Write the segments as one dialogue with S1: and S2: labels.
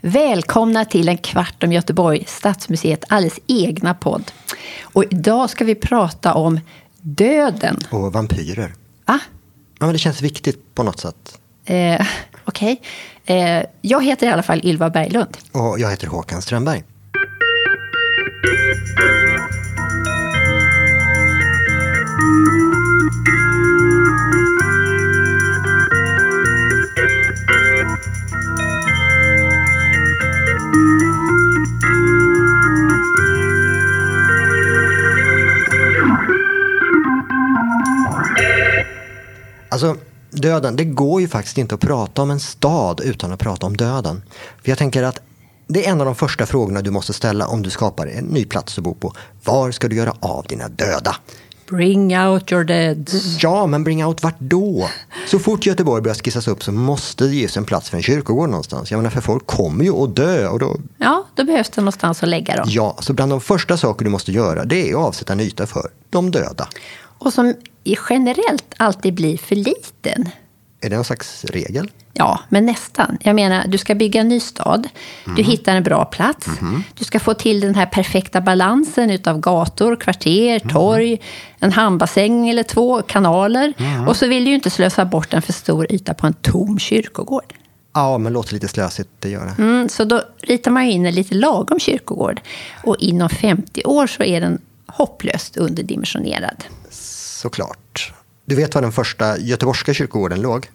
S1: Välkomna till En kvart om Göteborg, Stadsmuseet alldeles egna podd. Och idag ska vi prata om döden.
S2: Och vampyrer.
S1: Va?
S2: Ja, men det känns viktigt på något sätt.
S1: Eh, Okej. Eh, jag heter i alla fall Ylva Berglund.
S2: Och jag heter Håkan Strömberg. Alltså, döden. Det går ju faktiskt inte att prata om en stad utan att prata om döden. För jag tänker att det är en av de första frågorna du måste ställa om du skapar en ny plats att bo på. Var ska du göra av dina döda?
S1: Bring out your dead.
S2: Ja, men bring out vart då? Så fort Göteborg börjar skissas upp så måste det ges en plats för en kyrkogård någonstans. Jag menar, för folk kommer ju att dö och då
S1: Ja, då behövs det någonstans att lägga dem.
S2: Ja, så bland de första saker du måste göra det är att avsätta en yta för de döda.
S1: Och som i- generellt alltid blir för liten.
S2: Är det en slags regel?
S1: Ja, men nästan. Jag menar, du ska bygga en ny stad. Du hittar en bra plats. Du ska få till den här perfekta balansen utav gator, kvarter, torg, en hamnbassäng eller två, kanaler. Och så vill du ju inte slösa bort en för stor yta på en tom kyrkogård.
S2: Ja, men låter lite slösigt, det gör det.
S1: Mm, så då ritar man ju in en lite lagom kyrkogård. Och inom 50 år så är den hopplöst underdimensionerad.
S2: Såklart. Du vet var den första göteborgska kyrkogården låg?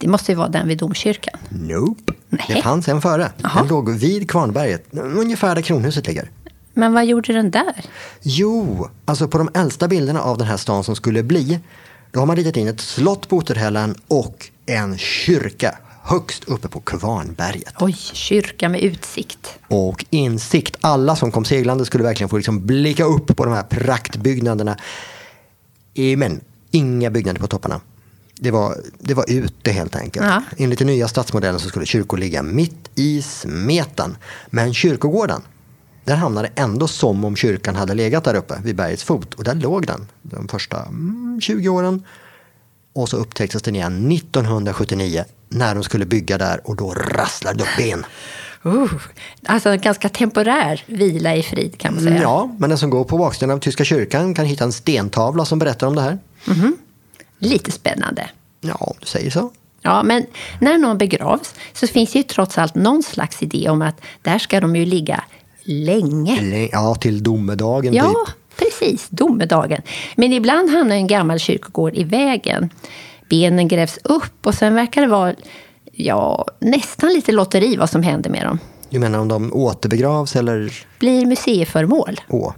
S1: Det måste ju vara den vid domkyrkan.
S2: Nope.
S1: Nej.
S2: Det fanns en före.
S1: Jaha.
S2: Den låg vid Kvarnberget, ungefär där kronhuset ligger.
S1: Men vad gjorde den där?
S2: Jo, alltså på de äldsta bilderna av den här stan som skulle bli, då har man ritat in ett slott på Oterhällen och en kyrka högst uppe på Kvarnberget.
S1: Oj, kyrka med utsikt.
S2: och insikt. Alla som kom seglande skulle verkligen få liksom blicka upp på de här praktbyggnaderna. Eh, Men inga byggnader på topparna. Det var, det var ute helt enkelt.
S1: Ja.
S2: Enligt den nya stadsmodellen så skulle kyrkor ligga mitt i smeten. Men kyrkogården, den hamnade ändå som om kyrkan hade legat där uppe vid bergets fot. Och där låg den de första mm, 20 åren. Och så upptäcktes den igen 1979 när de skulle bygga där och då rasslade det upp ben.
S1: Uh, alltså en ganska temporär vila i frid kan man säga.
S2: Ja, men den som går på baksidan av Tyska kyrkan kan hitta en stentavla som berättar om det här.
S1: Lite spännande.
S2: Ja, om du säger så.
S1: Ja, men när någon begravs så finns det ju trots allt någon slags idé om att där ska de ju ligga länge.
S2: Eller, ja, till domedagen
S1: Ja,
S2: typ.
S1: precis. Domedagen. Men ibland hamnar en gammal kyrkogård i vägen. Benen grävs upp och sen verkar det vara ja, nästan lite lotteri vad som händer med dem.
S2: Du menar om de återbegravs eller?
S1: Blir museiföremål.
S2: Åh.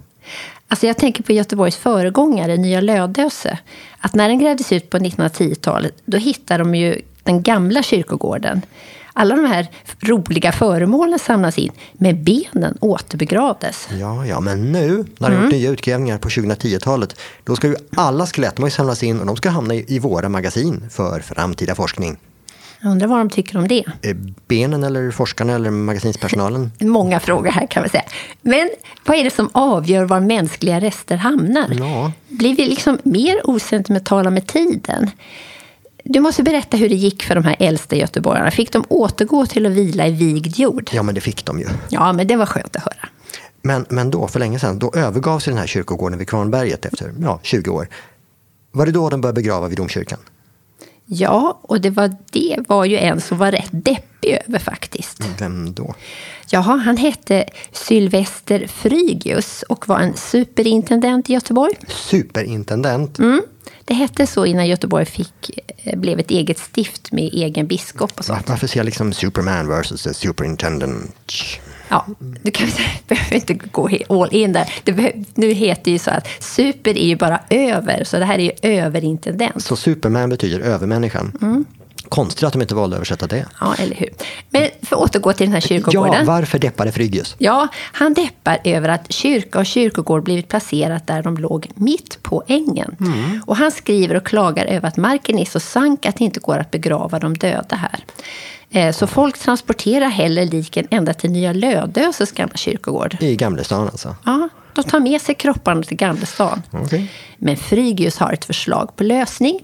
S1: Alltså jag tänker på Göteborgs föregångare, Nya Lödöse. Att när den grävdes ut på 1910-talet, då hittade de ju den gamla kyrkogården. Alla de här roliga föremålen samlas in, men benen återbegravdes.
S2: Ja, ja, men nu när det
S1: Mm.
S2: har gjort nya utgrävningar på 2010-talet, då ska ju alla skelett man samlas in och de ska hamna i, i våra magasin för framtida forskning.
S1: Jag undrar vad de tycker om det.
S2: Eh, Benen eller forskarna eller magasinspersonalen?
S1: Många frågor här kan man säga. Men vad är det som avgör var mänskliga rester hamnar?
S2: Ja.
S1: Blir vi liksom mer osentimentala med tiden? Du måste berätta hur det gick för de här äldsta göteborgarna. Fick de återgå till att vila i vigd jord?
S2: Ja, men det fick de ju.
S1: Ja, men det var skönt att höra.
S2: Men, men då, för länge sedan, då övergavs ju den här kyrkogården vid Kvarnberget efter ja, 20 år. Var det då de började begrava vid domkyrkan?
S1: Ja, och det var, det var ju en som var rätt deppig över faktiskt.
S2: Vem då?
S1: Jaha, han hette Sylvester Frygius och var en superintendent i Göteborg.
S2: Superintendent.
S1: Det hette så innan Göteborg fick, eh, blev ett eget stift med egen biskop och så.
S2: Va- Varför ser jag liksom Superman versus the Superintendent?
S1: Ja, du kan behöver inte gå he- all in där. Det behö- nu heter det ju så att super är ju bara över, så det här är ju överintendent.
S2: Så Superman betyder övermänniskan. Konstigt att de inte valde att översätta det.
S1: Ja, eller hur? Men för att återgå till den här kyrkogården.
S2: Ja, varför deppade Frygius?
S1: Ja, han deppar över att kyrka och kyrkogård blivit placerat där de låg mitt på ängen. Och han skriver och klagar över att marken är så sank att det inte går att begrava de döda här. Eh, Så folk transporterar hellre liken ända till Nya Lödöses gamla kyrkogård.
S2: I Gamlestan alltså.
S1: Ja, De tar med sig kropparna till Gamlestan.
S2: Okej.
S1: Men Frygius har ett förslag på lösning.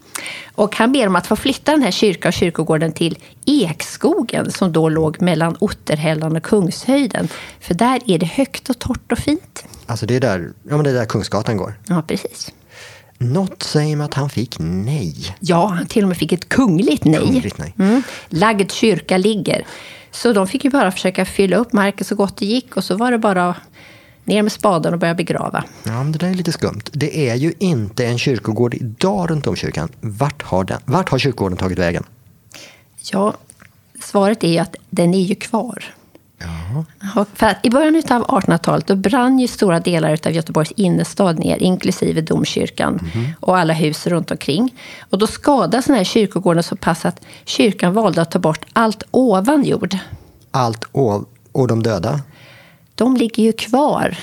S1: Och han ber om att få flytta den här kyrkan och kyrkogården till Ekskogen som då låg mellan Otterhällan och Kungshöjden. För där är det högt och torrt och fint.
S2: Alltså det är, där, ja, men det är där Kungsgatan går.
S1: Ja, precis.
S2: Något säger mig att han fick nej.
S1: Ja, han till och med fick ett kungligt nej.
S2: Kungligt nej.
S1: Mm. Lagd kyrka ligger. Så de fick ju bara försöka fylla upp marken så gott det gick och så var det bara ner med spaden och börja begrava.
S2: Ja, men det där är lite skumt. Det är ju inte en kyrkogård idag runt om kyrkan. Vart har, den, vart har kyrkogården tagit vägen?
S1: Ja, svaret är ju att den är ju kvar. Ja, För att I början av 1800-talet då brann ju stora delar av Göteborgs innerstad ner, inklusive domkyrkan och alla hus runt omkring. Och då skadades den här kyrkogården så pass att kyrkan valde att ta bort allt ovan jord.
S2: Allt och, och de döda?
S1: De ligger ju kvar.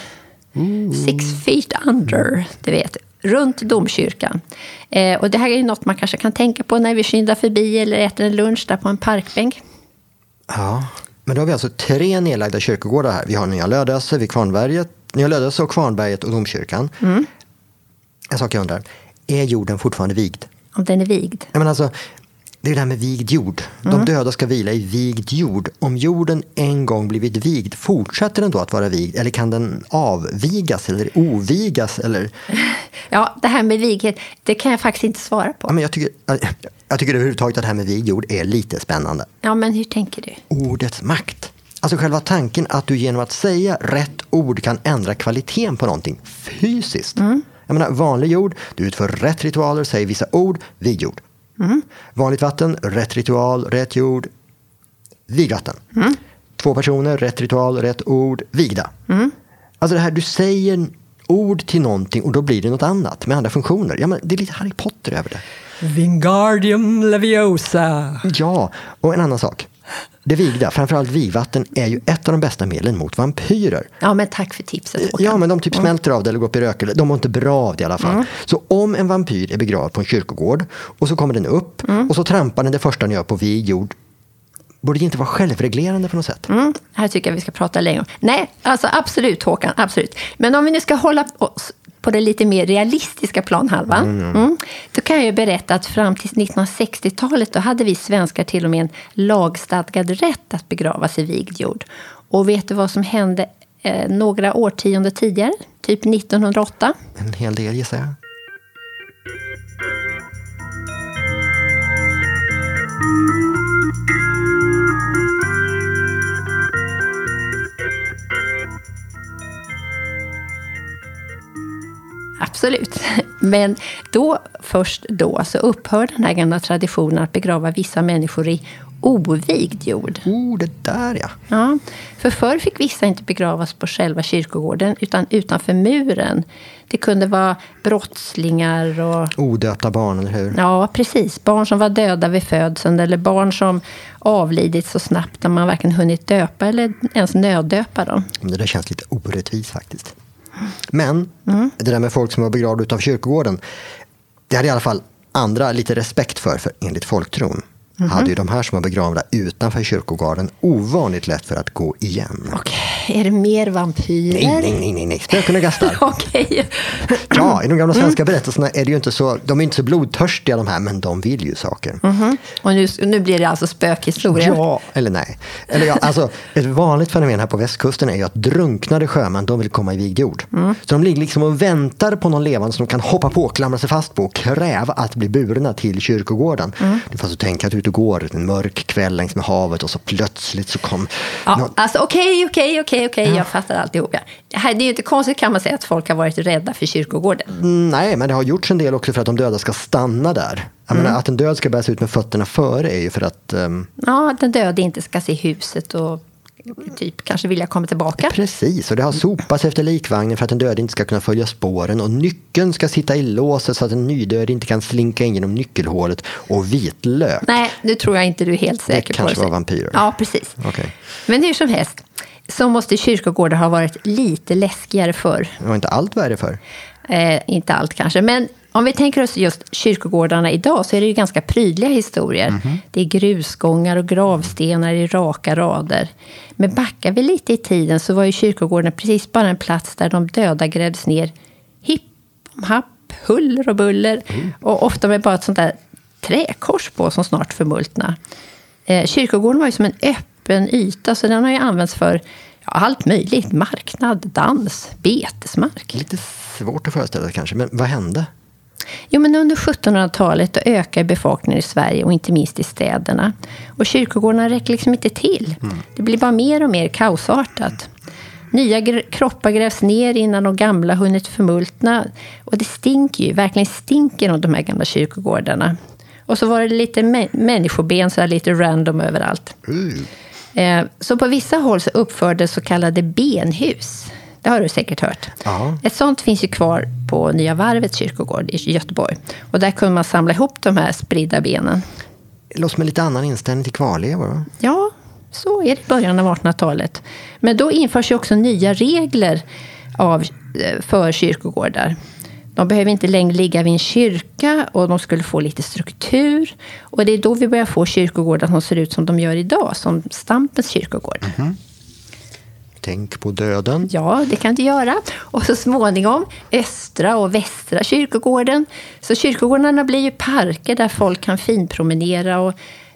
S1: Six feet under, du vet. Runt domkyrkan. Eh, och det här är ju något man kanske kan tänka på när vi skyndar förbi eller äter en lunch där på en parkbänk.
S2: Ja. Men då har vi alltså tre nedlagda kyrkogårdar här. Vi har Nya Lödöse vid Kvarnberget, Nya Lödöse och Kvarnberget och domkyrkan. En sak jag undrar. Är jorden fortfarande vigd?
S1: Om den är vigd.
S2: Jag menar alltså, det är det här med vigd jord. De döda ska vila i vigd jord. Om jorden en gång blivit vigd, fortsätter den då att vara vigd? Eller kan den avvigas eller ovigas? Eller?
S1: Ja, det här med vighet, det kan jag faktiskt inte svara
S2: Ja,
S1: på.
S2: men jag, tycker, jag tycker överhuvudtaget att det här med vigd jord är lite spännande.
S1: Ja, men hur tänker du?
S2: Ordets makt. Alltså själva tanken att du genom att säga rätt ord kan ändra kvaliteten på någonting fysiskt. Jag menar, vanlig jord, du utför rätt ritualer, säger vissa ord, vigd jord. Vanligt vatten, rätt ritual, rätt jord, vigvatten. Två personer, rätt ritual, rätt ord, vigda. Alltså det här, du säger ord till någonting och då blir det något annat med andra funktioner. Ja, men det är lite Harry Potter över det.
S3: Wingardium Leviosa.
S2: Ja, och en annan sak. Det vigda, framförallt vigvatten, är ju ett av de bästa medlen mot vampyrer.
S1: Ja, men tack för tipset, Håkan.
S2: Ja, men de typ smälter av det eller går upp i rök. eller- De mår inte bra av det i alla fall. Så om en vampyr är begravd på en kyrkogård och så kommer den upp och så trampar den det första den gör på vig jord. Borde det inte vara självreglerande på något sätt?
S1: Mm, här tycker jag vi ska prata längre om. Nej, alltså absolut Håkan, absolut. Men om vi nu ska hålla oss på det lite mer realistiska planhalvan. Mm, då kan jag ju berätta att fram till 1960-talet då hade vi svenskar till och med en lagstadgad rätt att begravas i vigd jord. Och vet du vad som hände eh, några årtionden tidigare? Typ 1908?
S2: En hel del gissar jag.
S1: Absolut. Men då, först då, så upphör den här gamla traditionen att begrava vissa människor i ovigd jord.
S2: Oh, det där ja.
S1: Ja, för förr fick vissa inte begravas på själva kyrkogården utan utanför muren. Det kunde vara brottslingar och...
S2: Odöpta barn, eller hur?
S1: Ja, precis. Barn som var döda vid födseln eller barn som avlidit så snabbt att man varken hunnit döpa eller ens nöddöpa dem.
S2: Det där känns lite orättvist faktiskt. Men det där med folk som var begravda utav kyrkogården. Det hade i alla fall andra lite respekt för, för enligt folktron hade ju de här som var begravda utanför kyrkogården ovanligt lätt för att gå igen.
S1: Okej, är det mer vampyrer?
S2: Nej, nej, nej, nej, nej. Spöken och gastar.
S1: Okej.
S2: Ja, i de gamla svenska berättelserna är det ju inte så, de är inte så blodtörstiga de här, men de vill ju saker.
S1: Mm. Och nu, nu blir det alltså spökhistoria.
S2: Ja, eller nej. Eller ja, alltså, ett vanligt fenomen här på västkusten är ju att drunknade sjömän, de vill komma i vigd jord. Så de ligger liksom och väntar på någon levande som de kan hoppa på, klamra sig fast på och kräva att bli burna till kyrkogården. Du får alltså tänka att du är ute och går en mörk kväll längs med havet och så plötsligt så kom...
S1: Ja,
S2: någon-
S1: alltså okej, okej, okej, okej, jag fattar alltihop. Ja. Det här- det är ju inte konstigt kan man säga att folk har varit rädda för kyrkogården.
S2: Nej, men det har gjorts en del också för att de döda ska stanna där. Jag menar, att en död ska bäras ut med fötterna före är ju för att ehm,
S1: Ja, att den döde inte ska se huset och typ kanske vilja komma tillbaka.
S2: Precis, och det har sopats efter likvagnen för att den döde inte ska kunna följa spåren och nyckeln ska sitta i låset så att en nydöd inte kan slinka in genom nyckelhålet och vitlök.
S1: Nej, nu tror jag inte du är helt säker på
S2: kanske var vampyrer.
S1: Ja, precis.
S2: Okej.
S1: Men hur som helst, så måste kyrkogårdar ha varit lite läskigare förr.
S2: Det var inte allt värre för.
S1: Eh, inte allt kanske, men Om vi tänker oss just kyrkogårdarna idag så är det ju ganska prydliga historier. Det är grusgångar och gravstenar i raka rader. Men backar vi lite i tiden så var ju kyrkogården precis bara en plats där de döda grävs ner hipp om happ, huller och buller. Och ofta med bara ett sånt där träkors på som snart förmultnar. Eh, kyrkogården var ju som en öppen yta så den har ju använts för ja, allt möjligt. Marknad, dans, betesmark.
S2: Lite svårt att föreställa sig kanske, men vad hände?
S1: Jo, men under 1700-talet då ökar befolkningen i Sverige och inte minst i städerna. Och kyrkogårdarna räcker liksom inte till. Det blir bara mer och mer kaosartat. Nya gr- kroppar grävs ner innan de gamla hunnit förmultna. Och det stinker ju, verkligen stinker om de här gamla kyrkogårdarna. Och så var det lite mä- människoben, så här lite random överallt. Eh, Så på vissa håll så uppfördes så kallade benhus. Det har du säkert hört.
S2: Ja.
S1: Ett sånt finns ju kvar på Nya Varvets kyrkogård i Göteborg. Och där kunde man samla ihop de här spridda benen.
S2: Det låter som en lite annan inställning till kvarlevor. va?
S1: Ja, så är det i början av 1800-talet. Men då införs ju också nya regler av, eh, för kyrkogårdar. De behöver inte längre ligga vid en kyrka och de skulle få lite struktur. Och det är då vi börjar få kyrkogårdar som ser ut som de gör idag, som Stampens kyrkogård.
S2: Tänk på döden.
S1: Ja, det kan du göra. Och så småningom östra och västra kyrkogården. Så kyrkogårdarna blir ju parker där folk kan finpromenera och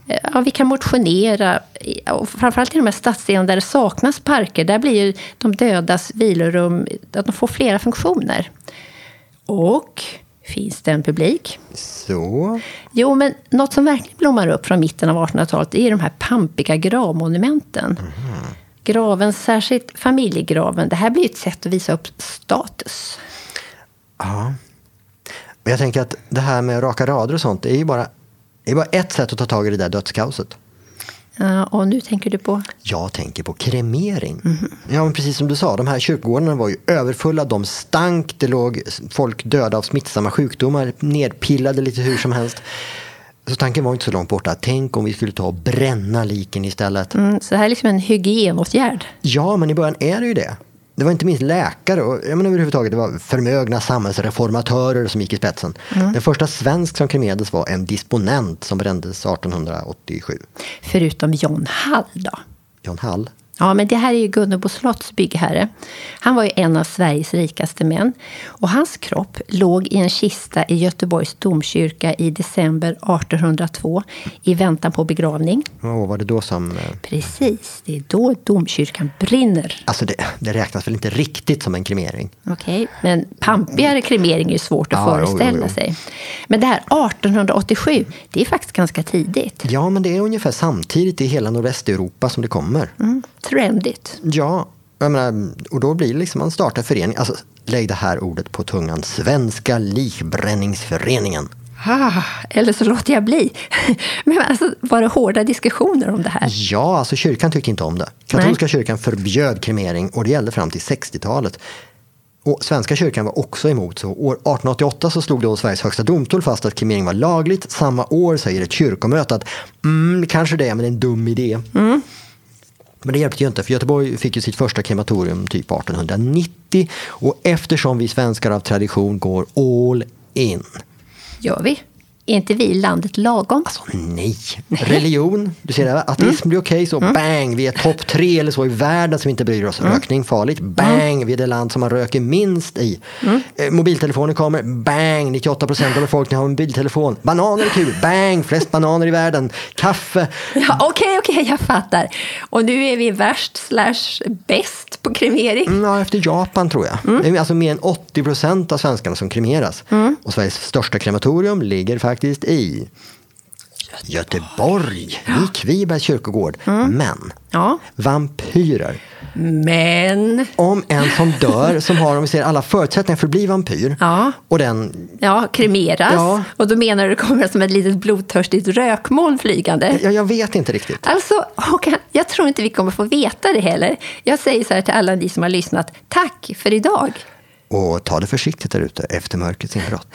S1: eh, ja, vi kan motionera. I- Och framförallt i de här stadsdelarna där det saknas parker, där blir ju de dödas vilorum, att de får flera funktioner. Och finns det en publik?
S2: Så.
S1: Jo, men något som verkligen blommar upp från mitten av 1800-talet det är de här pampiga gravmonumenten. Graven, särskilt familjegraven, det här blir ju ett sätt att visa upp status.
S2: Ja. Men jag tänker att det här med raka rader och sånt, det är ju bara, det är bara ett sätt att ta tag i det där dödskaoset.
S1: Ja, Eh, och nu tänker du på...
S2: Jag tänker på kremering. Ja, men precis som du sa, de här kyrkogårdarna var ju överfulla, de stank, det låg folk döda av smittsamma sjukdomar, nedpillade lite hur som helst. Så tanken var inte så långt borta. Tänk om vi skulle ta och bränna liken istället.
S1: Mm, så det här är liksom en hygienåtgärd.
S2: Ja, men i början är det ju det. Det var inte minst läkare och jag menar, överhuvudtaget det var förmögna samhällsreformatörer som gick i spetsen. Den första svensk som kremerades var en disponent som brändes 1887.
S1: Förutom John Hall då.
S2: John Hall.
S1: Ja, men det här är ju Gunnebo slotts byggherre. Han var ju en av Sveriges rikaste män. Och hans kropp låg i en kista i Göteborgs domkyrka i december 1802 i väntan på begravning.
S2: Vad var det då som... eh,
S1: Precis, det är då domkyrkan brinner.
S2: Alltså det, det räknas väl inte riktigt som en kremering?
S1: Okej, men pampigare kremering är ju svårt att
S2: Ja, jo, jo,
S1: föreställa
S2: jo.
S1: sig. Men det här 1887, det är faktiskt ganska tidigt.
S2: Ja, men det är ungefär samtidigt i hela nordvästeuropa som det kommer.
S1: Mm, trendigt.
S2: Ja, jag menar, och då blir det liksom man startar förening. Alltså, lägg det här ordet på tungan. Svenska likbränningsföreningen.
S1: Ah, eller så låter jag bli. Men alltså, var det hårda diskussioner om det här?
S2: Ja, alltså kyrkan tyckte inte om det. Katolska kyrkan förbjöd kremering och det gällde fram till 60-talet. Och Svenska kyrkan var också emot, så år 1888 så slog då Sveriges högsta domstol fast att kremering var lagligt. Samma år säger ett kyrkomöte att mm, kanske det, men det är en dum idé. Men det hjälpte ju inte, för Göteborg fick ju sitt första krematorium typ 1890. Och eftersom vi svenskar av tradition går all in.
S1: Gör vi? Är inte vi landet lagom?
S2: Alltså nej. Religion, du ser det här, ateism blir okej så bang, vi är topp tre eller så i världen som inte bryr oss. Rökning farligt, bang, vi är det land som man röker minst i. Eh, mobiltelefoner kommer, bang, 98 procent av befolkningen har en mobiltelefon. Bananer är kul, bang, flest bananer i världen. Kaffe,
S1: Ja, Okej, okej, jag fattar. Och nu är vi värst slash bäst på kremering.
S2: Mm, Ja, efter Japan tror jag. Det är Alltså mer än 80 procent av svenskarna som kremeras. Och Sveriges största krematorium ligger faktiskt i Göteborg, i Kvibergs kyrkogård. Men
S1: Ja.
S2: vampyrer,
S1: Men...
S2: om en som dör, som har om vi ser alla förutsättningar för att bli vampyr
S1: Ja.
S2: och den
S1: Ja, kremeras.
S2: Ja.
S1: Och då menar du att det kommer som ett litet blodtörstigt rökmoln flygande.
S2: Ja, jag vet inte riktigt.
S1: Alltså, Håkan, jag tror inte vi kommer få veta det heller. Jag säger så här till alla ni som har lyssnat. Tack för idag.
S2: Och ta det försiktigt där ute efter mörkrets inbrott.